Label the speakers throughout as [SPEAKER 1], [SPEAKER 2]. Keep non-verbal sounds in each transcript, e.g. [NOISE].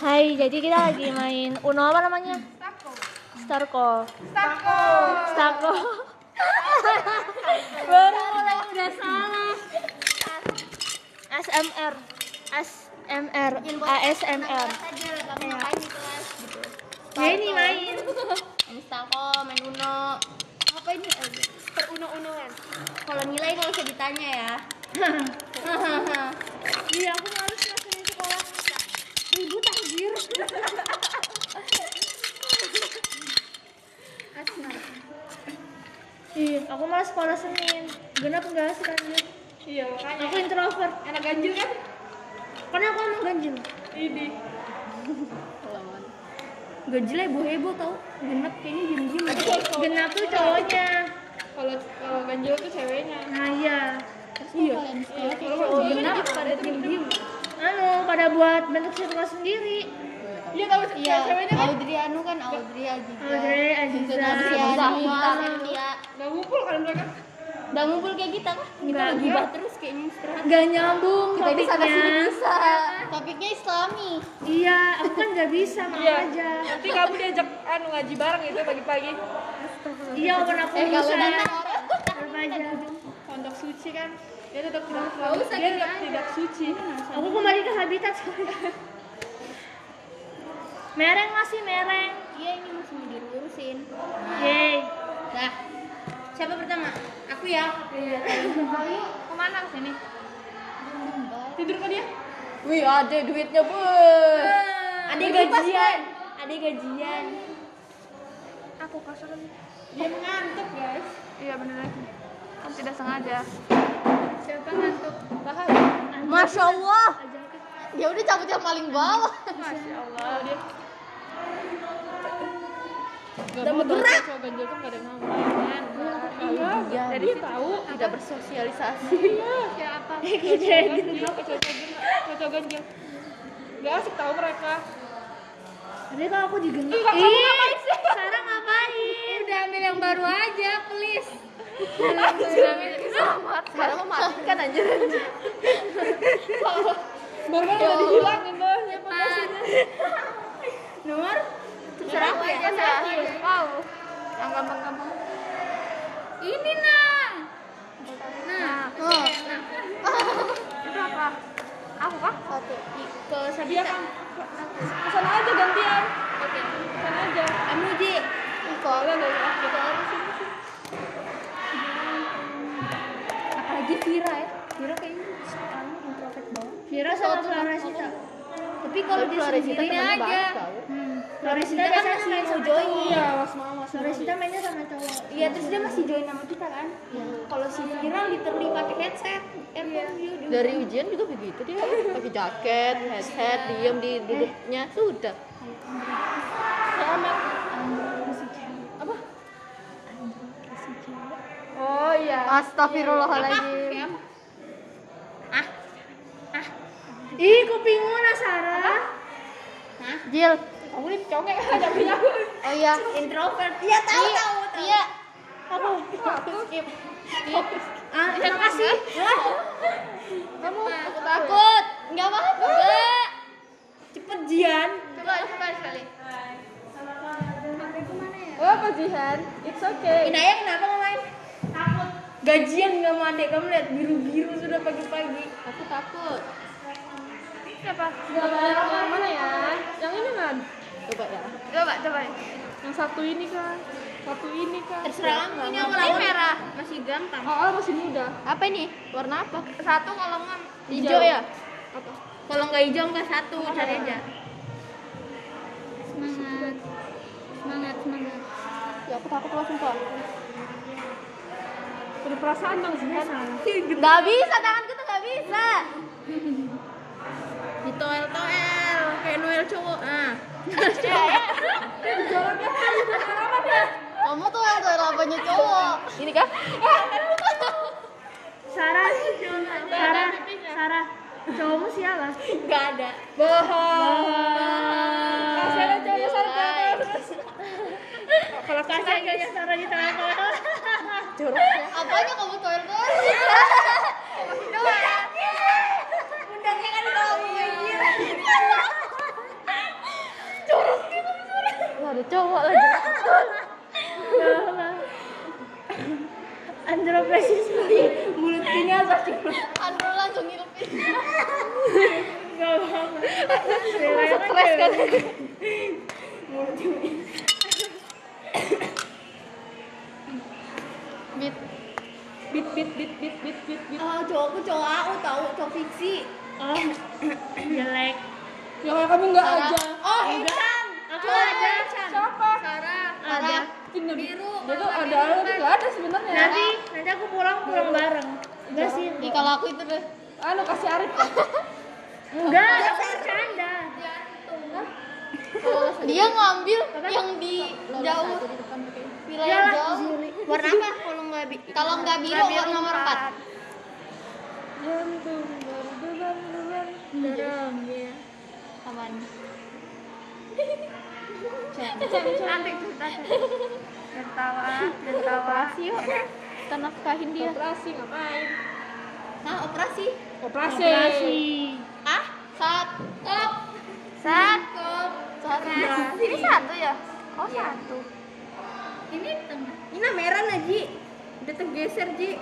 [SPEAKER 1] Hai, jadi kita lagi main Uno apa namanya? Starco. Starco. Starco. Baru mulai udah salah. ASMR. ASMR. ASMR.
[SPEAKER 2] ngapain di kelas gitu
[SPEAKER 1] Ya ini main.
[SPEAKER 2] main stako main uno ngapain aja peruno-unoan kalau nilai nggak usah ditanya [LAUGHS] ya
[SPEAKER 3] Iya, aku malu sih masukin sekolah.
[SPEAKER 2] ribut anjir
[SPEAKER 1] Ih, Iya, aku malas sekolah Senin. Genap enggak sih lanjut?
[SPEAKER 3] Iya, makanya
[SPEAKER 1] Aku introvert.
[SPEAKER 3] anak ganjil kan?
[SPEAKER 1] Karena aku emang ganjil.
[SPEAKER 3] Ini.
[SPEAKER 1] Ganjilnya heboh-heboh tau. Genap kayaknya diem-diem. Genap tuh cowoknya.
[SPEAKER 3] Kalau kalau ganjil tuh ceweknya.
[SPEAKER 1] Nah iya.
[SPEAKER 2] iya
[SPEAKER 3] Iya, kalau
[SPEAKER 1] Oh,
[SPEAKER 3] ganjil kan
[SPEAKER 1] genap
[SPEAKER 3] gitu.
[SPEAKER 1] pada diem-diem. Anu, pada buat bentuk sirkus sendiri.
[SPEAKER 3] Iya, tahu ce-
[SPEAKER 2] iya
[SPEAKER 3] ceweknya kan
[SPEAKER 2] Audrey Anu kan Audrey
[SPEAKER 1] Oh,
[SPEAKER 2] Aziza
[SPEAKER 3] Iya.
[SPEAKER 1] Audrey, Aziza.
[SPEAKER 2] Aziza
[SPEAKER 1] Aziza.
[SPEAKER 2] Aziza
[SPEAKER 3] nggak ngumpul kan mereka.
[SPEAKER 2] udah ngumpul kayak kita kan kita
[SPEAKER 1] Nggak.
[SPEAKER 2] gibah terus kayaknya istirahat
[SPEAKER 1] Gak nyambung
[SPEAKER 2] kita ini sana sini
[SPEAKER 1] topiknya.
[SPEAKER 2] bisa topiknya islami
[SPEAKER 1] Iya, aku kan gak bisa, maaf
[SPEAKER 3] Iya.
[SPEAKER 1] aja.
[SPEAKER 3] Nanti kamu diajak anu ngaji bareng gitu pagi-pagi.
[SPEAKER 1] Iya, walaupun aku
[SPEAKER 2] eh kalau
[SPEAKER 1] bisa.
[SPEAKER 2] nanti
[SPEAKER 1] Maaf aja.
[SPEAKER 3] Pondok suci kan dia tetap
[SPEAKER 2] usah
[SPEAKER 3] tidak dia
[SPEAKER 2] gini
[SPEAKER 3] tetap
[SPEAKER 2] aja.
[SPEAKER 3] tidak suci.
[SPEAKER 1] Aku kembali ke habitat
[SPEAKER 3] [LAUGHS]
[SPEAKER 1] soalnya. mereng masih mereng.
[SPEAKER 2] iya ini masih mau dilurusin
[SPEAKER 1] Yeay.
[SPEAKER 2] dah siapa pertama aku ya
[SPEAKER 3] Lalu kemana sini? Tidur kok dia?
[SPEAKER 2] Wih, ada duitnya, Bu.
[SPEAKER 3] Ah.
[SPEAKER 2] Ada gajian. Ada gajian.
[SPEAKER 3] Aku kasar Dia mengantuk, guys. Iya, bener lagi. Kan tidak sengaja. Siapa ngantuk? Bahas.
[SPEAKER 2] Masya Allah. Ya udah cabut yang paling bawah.
[SPEAKER 3] Masya Allah, dia
[SPEAKER 2] Udah mau gerak.
[SPEAKER 3] Coba ganjil kan gak ada yang mau kan? Iya, jadi tahu
[SPEAKER 2] Tidak bersosialisasi.
[SPEAKER 3] siapa? Kecoa ganjil, kecoa ganjil, kecoa ganjil. Gak asik tahu mereka.
[SPEAKER 1] Tadi kalau aku digenap.
[SPEAKER 3] Enggak, kamu ngapain sih?
[SPEAKER 1] Sarah ngapain?
[SPEAKER 2] Udah ambil yang baru aja, please. Sekarang kan, mau matikan aja.
[SPEAKER 3] Baru udah dihilangin loh, siapa bosnya?
[SPEAKER 2] Nomor
[SPEAKER 3] Serang ya? Wow. Yang gampang-gampang.
[SPEAKER 2] ini nah. Nah, oh.
[SPEAKER 3] Itu apa? Aku kah?
[SPEAKER 2] Satu. Ke
[SPEAKER 3] Dia kan. Kesana aja gantian.
[SPEAKER 2] Oke.
[SPEAKER 3] Kesana aja.
[SPEAKER 2] Kamu Ji. Iko.
[SPEAKER 3] Udah, udah, udah.
[SPEAKER 2] Apalagi Vira ya. Vira kayaknya sekarang introvert banget.
[SPEAKER 1] Vira sama Floresita. Tapi kalau dia
[SPEAKER 2] Floresita
[SPEAKER 1] sendiri
[SPEAKER 2] temennya
[SPEAKER 1] aja.
[SPEAKER 2] banyak tau.
[SPEAKER 1] Hmm. Floresita
[SPEAKER 2] Kita kan
[SPEAKER 1] biasanya
[SPEAKER 2] masih
[SPEAKER 1] main
[SPEAKER 2] mau
[SPEAKER 1] sama
[SPEAKER 2] join.
[SPEAKER 1] cowok.
[SPEAKER 3] Iya, was mama.
[SPEAKER 1] Floresita mainnya sama cowok.
[SPEAKER 2] Iya, terus dia masih join sama kita kan.
[SPEAKER 1] Iya.
[SPEAKER 2] Kalau si Vira literally pakai headset, earphone dia udah.
[SPEAKER 4] dari ujian juga begitu dia pakai jaket headset diem di duduknya sudah
[SPEAKER 3] Sama. Apa? Oh iya.
[SPEAKER 2] Ah,
[SPEAKER 4] astagfirullahaladzim
[SPEAKER 2] Ah.
[SPEAKER 1] Ih, kupingmu nah Sarah.
[SPEAKER 4] Jil
[SPEAKER 3] Kamu ini congek [LAUGHS] aja punya aku.
[SPEAKER 4] oh iya
[SPEAKER 2] Introvert. Iya, tahu tahu tahu. Iya.
[SPEAKER 3] Aku skip.
[SPEAKER 1] Ah, terima kasih.
[SPEAKER 3] Kamu
[SPEAKER 2] Ah.
[SPEAKER 3] aku
[SPEAKER 2] Takut. Enggak apa-apa. Enggak.
[SPEAKER 1] Cepet Jian.
[SPEAKER 2] Coba coba sekali.
[SPEAKER 3] Oh, apa Jihan? It's okay.
[SPEAKER 2] Inaya kenapa nggak main?
[SPEAKER 1] Gajian nggak mau adek kamu lihat biru-biru sudah pagi-pagi.
[SPEAKER 3] Aku takut. Siapa? Yang mana ya? Yang ini kan?
[SPEAKER 4] coba ya
[SPEAKER 3] Coba, coba. Yang satu ini kan? Satu ini kan?
[SPEAKER 2] Terserah kamu. Ini awal awal merah. Masih gampang.
[SPEAKER 3] Oh, oh, masih muda.
[SPEAKER 4] apa ini warna apa
[SPEAKER 2] Satu kalau nggak
[SPEAKER 4] hijau ya
[SPEAKER 3] Apa?
[SPEAKER 2] kalau nggak hijau nggak satu cari aja. Semangat. Semangat semangat.
[SPEAKER 4] ya aku takut loh sumpah
[SPEAKER 3] Ada perasaan dong Jihan.
[SPEAKER 2] Nggak bisa tanganku tuh nggak bisa. Ditoel toel kayak Noel cowok. Ah.
[SPEAKER 4] kamu tuh yang tuh lapanya cowok ini kan
[SPEAKER 1] Sarah, Sarah, Sarah. Cowokmu siapa?
[SPEAKER 2] Nggak ada.
[SPEAKER 3] Bohong. Kasih ada cowoknya sana terus. Kalau kasih
[SPEAKER 1] Kasihan guys, Sarah di tengah kolam.
[SPEAKER 2] Apanya kamu toel toel? Undangnya kan kamu anjir.
[SPEAKER 1] cowok lagi Andro presis mulut ini apa sih?
[SPEAKER 2] Andro langsung ngilupin.
[SPEAKER 4] stres kan
[SPEAKER 3] Bit. Bit, bit, bit, bit, bit, bit, bit.
[SPEAKER 2] Ah, cowokku cowok aku tahu cowok fiksi.
[SPEAKER 1] Oh, [COUGHS] jelek.
[SPEAKER 3] Ya kayak kamu nggak
[SPEAKER 2] Sarah.
[SPEAKER 3] aja.
[SPEAKER 2] Oh, Hechan.
[SPEAKER 1] Aku
[SPEAKER 2] Cowok
[SPEAKER 1] ada.
[SPEAKER 2] Hechan.
[SPEAKER 3] Siapa?
[SPEAKER 2] Sarah.
[SPEAKER 1] Ada.
[SPEAKER 3] Tinggal
[SPEAKER 2] Biru,
[SPEAKER 3] Dia tuh
[SPEAKER 2] warna
[SPEAKER 3] ada
[SPEAKER 2] biru
[SPEAKER 3] ada
[SPEAKER 2] kan?
[SPEAKER 3] nggak ada sebenarnya.
[SPEAKER 1] Nanti nanti aku pulang pulang bareng. Enggak sih.
[SPEAKER 2] Di kalau aku itu deh.
[SPEAKER 3] Anu kasih Arif.
[SPEAKER 1] Enggak, aku bercanda.
[SPEAKER 2] Dia ngambil
[SPEAKER 1] Apa?
[SPEAKER 2] yang di jauh. Wilayah
[SPEAKER 1] Iyalah,
[SPEAKER 2] jauh.
[SPEAKER 1] Warna apa? Kalau nggak bi
[SPEAKER 2] Kalau nggak biru warna nomor 4.
[SPEAKER 3] Jantung berdebar-debar.
[SPEAKER 1] Derem, iya.
[SPEAKER 2] Aman.
[SPEAKER 3] Cantik cerita. Tertawa, tertawa. Operasi yuk.
[SPEAKER 4] kita nafkahin dia
[SPEAKER 3] Operasi ngapain?
[SPEAKER 2] Nah, operasi.
[SPEAKER 3] Operasi.
[SPEAKER 1] Operasi.
[SPEAKER 2] Ah, saat kop.
[SPEAKER 3] Sat.
[SPEAKER 2] Kop. Saat
[SPEAKER 3] Nah, Ini satu ya? Oh satu.
[SPEAKER 2] Iya. Ini tengah.
[SPEAKER 3] Ini merah lah Ji. Udah tergeser Ji.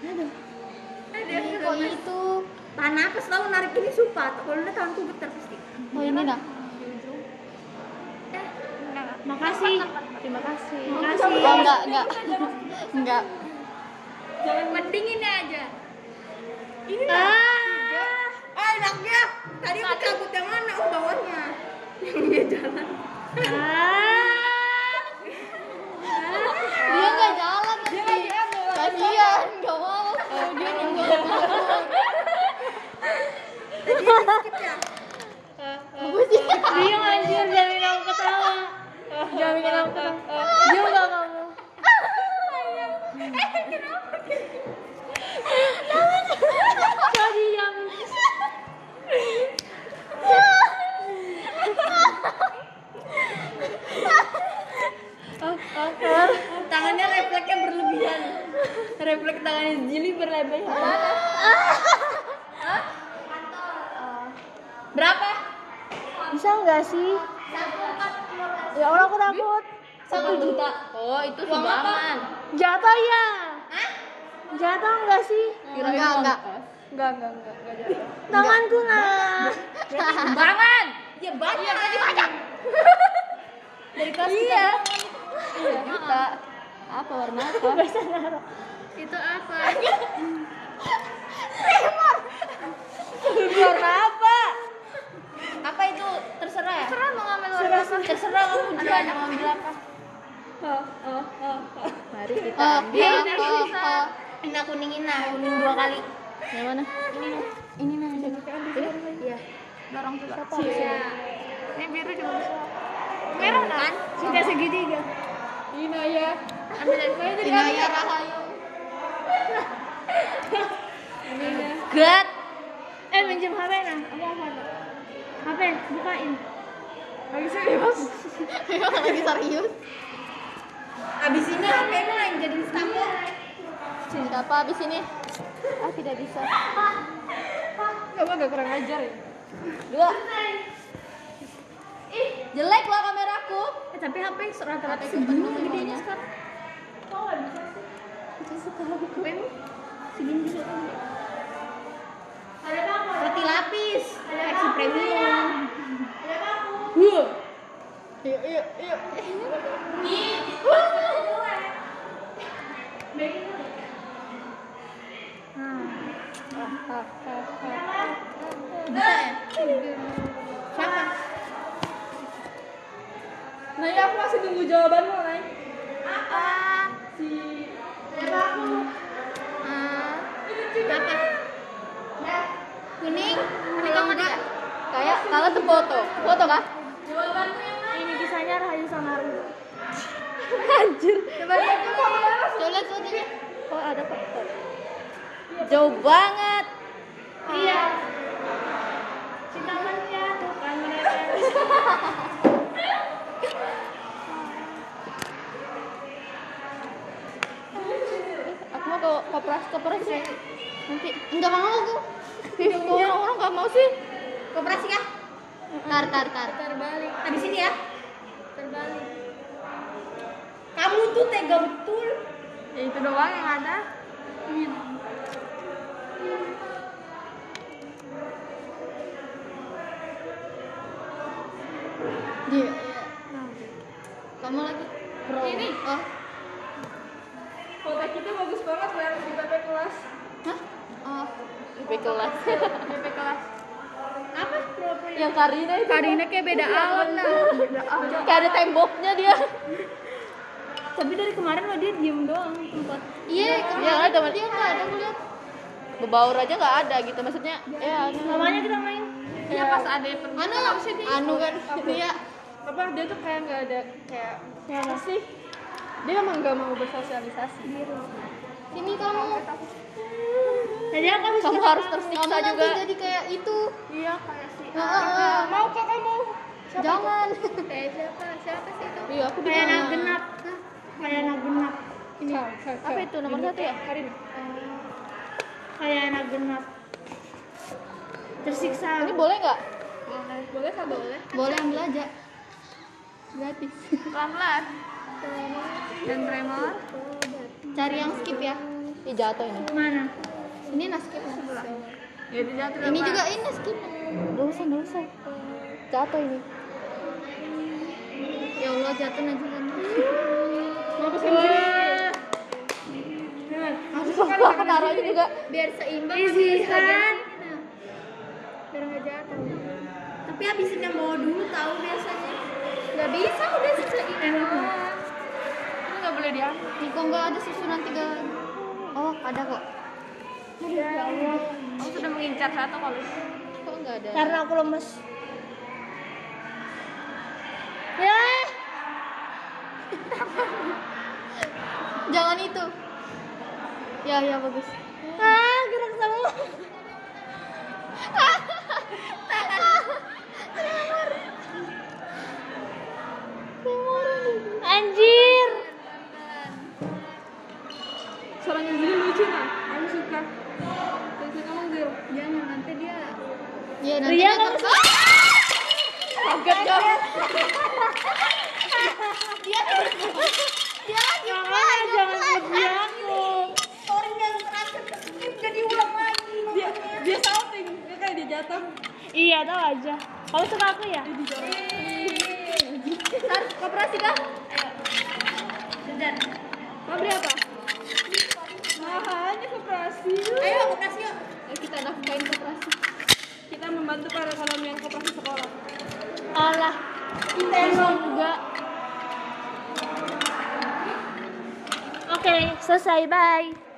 [SPEAKER 2] Ini kok itu.
[SPEAKER 3] Tanah aku selalu narik ini sumpah. Kalau udah tanganku getar pasti.
[SPEAKER 2] Oh, ini dah.
[SPEAKER 1] Makasih.
[SPEAKER 4] terima kasih
[SPEAKER 1] Makasih.
[SPEAKER 2] Oh, enggak, enggak. Enggak.
[SPEAKER 3] Jangan mending ini aja.
[SPEAKER 1] Ah.
[SPEAKER 3] Ah enaknya. Tadi aku cabut yang mana? Oh bawahnya.
[SPEAKER 1] Ah.
[SPEAKER 2] Dia nggak jalan nanti. Kasihan, nggak mau.
[SPEAKER 3] Oh,
[SPEAKER 2] Dia [LAUGHS] nggak mau.
[SPEAKER 3] ya?
[SPEAKER 2] Bagus ya.
[SPEAKER 3] Iya,
[SPEAKER 1] Bingung anjir, jangan bikin aku ketawa. Jangan bikin aku ketawa. Eh, Juga [LAUGHS] kamu. Kau diam.
[SPEAKER 3] Tangannya refleksnya berlebihan. Refleks tangannya Jili berlebihan. Berapa?
[SPEAKER 1] Bisa nggak sih? Ya Allah aku takut.
[SPEAKER 2] Satu juta.
[SPEAKER 4] oh itu sumbangan
[SPEAKER 1] Jatuh ya. Jatuh nggak sih?
[SPEAKER 2] Enggak, enggak.
[SPEAKER 3] Enggak, enggak, enggak, enggak jatuh.
[SPEAKER 1] Tanganku
[SPEAKER 3] Nah,
[SPEAKER 1] lah.
[SPEAKER 3] Bangan. Ya banyak. Iya, berarti banyak. [LAUGHS] Dari kelas iya.
[SPEAKER 4] juta apa warna apa
[SPEAKER 3] Itu apa? Warna apa? Apa itu? Terserah ya? Terserah mau ngambil warna apa? Terserah kamu juga mau ngambil apa? Oh, oh, oh, oh.
[SPEAKER 4] mari kita
[SPEAKER 2] Oh,
[SPEAKER 4] ambil
[SPEAKER 3] Iya,
[SPEAKER 2] oh, oh, oh.
[SPEAKER 3] Enak kuning ina, kuning dua kali.
[SPEAKER 4] yang mana
[SPEAKER 2] Ini
[SPEAKER 1] nah,
[SPEAKER 2] nanti.
[SPEAKER 3] Iya.
[SPEAKER 4] dorong ke
[SPEAKER 3] Iya.
[SPEAKER 1] Ini biru juga bisa.
[SPEAKER 3] Merah kan?
[SPEAKER 1] Sudah segitiga.
[SPEAKER 3] Ina ya. Ambil dari saya jadi
[SPEAKER 2] Ini ya Rahayu.
[SPEAKER 3] [LAUGHS] Good.
[SPEAKER 1] Eh minjem HP nah. Aku apa?
[SPEAKER 3] nah.
[SPEAKER 1] HP bukain.
[SPEAKER 3] Lagi serius.
[SPEAKER 2] Emang lagi serius.
[SPEAKER 3] Abis ini HP mu yang jadi tamu.
[SPEAKER 2] Cinta apa abis ini? Ah, tidak bisa.
[SPEAKER 3] Kamu agak kurang ajar ya.
[SPEAKER 2] Dua. Jelek lah kameraku.
[SPEAKER 1] Eh, tapi HP rata-rata
[SPEAKER 2] Tapi ketemu gedenya sekarang. kan.
[SPEAKER 3] Roti lapis, koleksi premium.
[SPEAKER 4] yuk yuk yuk
[SPEAKER 3] Bisa ya? Siapa? Nay, aku masih tunggu jawabanmu, Nay. Apa? Si...
[SPEAKER 2] Apa? Kuning, kuning kamu ada? Kayak kalah sefoto. Foto kah?
[SPEAKER 1] Ini kisahnya Rahayu sama Haru.
[SPEAKER 2] Coba lihat dulu. Coba lihat fotonya.
[SPEAKER 4] oh ada kok
[SPEAKER 2] Jauh banget.
[SPEAKER 1] Iya. Cinta mania bukan mereka.
[SPEAKER 4] aku mau ke koperasi koperasi
[SPEAKER 2] Nanti enggak mau aku.
[SPEAKER 3] Iya.
[SPEAKER 4] Ih, kok orang-orang gak mau sih
[SPEAKER 2] Koperasi kah? Tar, tar, tar. Terbalik. Habis ini ya? Terbalik. Kamu tuh tega betul. Iya.
[SPEAKER 3] Ya itu doang yang ada.
[SPEAKER 4] Iya. Kamu lagi? Bro.
[SPEAKER 3] Ini.
[SPEAKER 4] Oh.
[SPEAKER 3] Foto kita bagus banget lah di PP kelas.
[SPEAKER 4] Hah? Oh. Tapi kelas.
[SPEAKER 3] PP kelas. Apa?
[SPEAKER 4] yang Ya, Karina itu. Iya,
[SPEAKER 3] Karina kayak beda alam lah. Beda alam.
[SPEAKER 4] Kayak ada temboknya dia.
[SPEAKER 3] Tapi dari kemarin lo dia diem doang di tempat.
[SPEAKER 2] Iya,
[SPEAKER 4] Iya, ada teman.
[SPEAKER 2] Dia nggak ada ngeliat.
[SPEAKER 4] Bebaur aja nggak ada gitu maksudnya. Ya. ada.
[SPEAKER 1] Namanya kita main.
[SPEAKER 3] Iya pas ada event.
[SPEAKER 2] Anu lah, anu kan. Iya.
[SPEAKER 3] Apa dia tuh kayak nggak ada kayak apa sih? Dia emang nggak mau bersosialisasi.
[SPEAKER 2] Sini kamu.
[SPEAKER 1] Jadi aku habis
[SPEAKER 4] Kamu harus tersiksa juga.
[SPEAKER 2] Kamu nanti jadi kayak itu.
[SPEAKER 3] Iya kayak si.
[SPEAKER 2] Ah, ah, ah.
[SPEAKER 3] Mau kok kamu?
[SPEAKER 2] Jangan.
[SPEAKER 3] Kayak siapa? Siapa sih itu?
[SPEAKER 4] Iya, aku
[SPEAKER 1] kayak
[SPEAKER 4] bingung.
[SPEAKER 1] nagenap. Kayak nagenap.
[SPEAKER 3] Ini.
[SPEAKER 4] Apa itu nomor satu ya?
[SPEAKER 3] Karina.
[SPEAKER 1] Kayak nagenap. Tersiksa.
[SPEAKER 4] Ini boleh nggak?
[SPEAKER 3] Boleh kah boleh?
[SPEAKER 2] Boleh ambil aja. Gratis.
[SPEAKER 3] Pelan-pelan. Dan tremor.
[SPEAKER 2] Cari yang skip ya.
[SPEAKER 4] Ih jatuh ini.
[SPEAKER 1] Mana?
[SPEAKER 2] Ini nah skip nah.
[SPEAKER 3] Jadi Ya, jatuh.
[SPEAKER 2] Ini juga ini nah skip.
[SPEAKER 4] Dosa, dosa. Jatuh ini.
[SPEAKER 2] Ya Allah jatuh aja kan.
[SPEAKER 4] Aduh, aku taruhnya juga.
[SPEAKER 2] Biar seimbang.
[SPEAKER 1] Easy, kan?
[SPEAKER 2] nah. Biar nggak jatuh. Tapi habisin yang bawah dulu tahu biasanya. Gak bisa udah seimbang.
[SPEAKER 3] Ini nggak boleh diambil.
[SPEAKER 2] Nih kok nggak ada susunan tiga. Oh ada kok. ya Iya.
[SPEAKER 3] Kamu sudah mengincar satu kalau
[SPEAKER 4] Kok nggak ada?
[SPEAKER 1] Karena aku lemes. Ya,
[SPEAKER 2] Jangan itu. Ya ya bagus.
[SPEAKER 1] ah gerak semua. Anjir.
[SPEAKER 3] Seorang yang jadi lucu nah. Kamu suka. Terus kamu gil. Jangan nanti dia.
[SPEAKER 2] Ya nanti
[SPEAKER 1] Ria,
[SPEAKER 2] dia
[SPEAKER 1] kamu
[SPEAKER 2] ter-
[SPEAKER 4] Kaget
[SPEAKER 3] Eh,
[SPEAKER 4] dong.
[SPEAKER 2] dia lagi
[SPEAKER 1] Jangan jangan muji aku.
[SPEAKER 2] Sorry yang terakhir skip jadi ulang lagi.
[SPEAKER 3] Dia dia salting. Dia kayak dia jatuh.
[SPEAKER 1] Iya, tahu aja. Kamu suka aku ya?
[SPEAKER 2] Sar, koperasi dah.
[SPEAKER 3] Mau beli apa? Mahalnya koperasi.
[SPEAKER 2] Ayo koperasi yuk.
[SPEAKER 4] Kita nafkain koperasi.
[SPEAKER 3] Kita membantu para kolom yang koperasi sekolah.
[SPEAKER 1] Allah. Kita juga. Oke, selesai. Bye.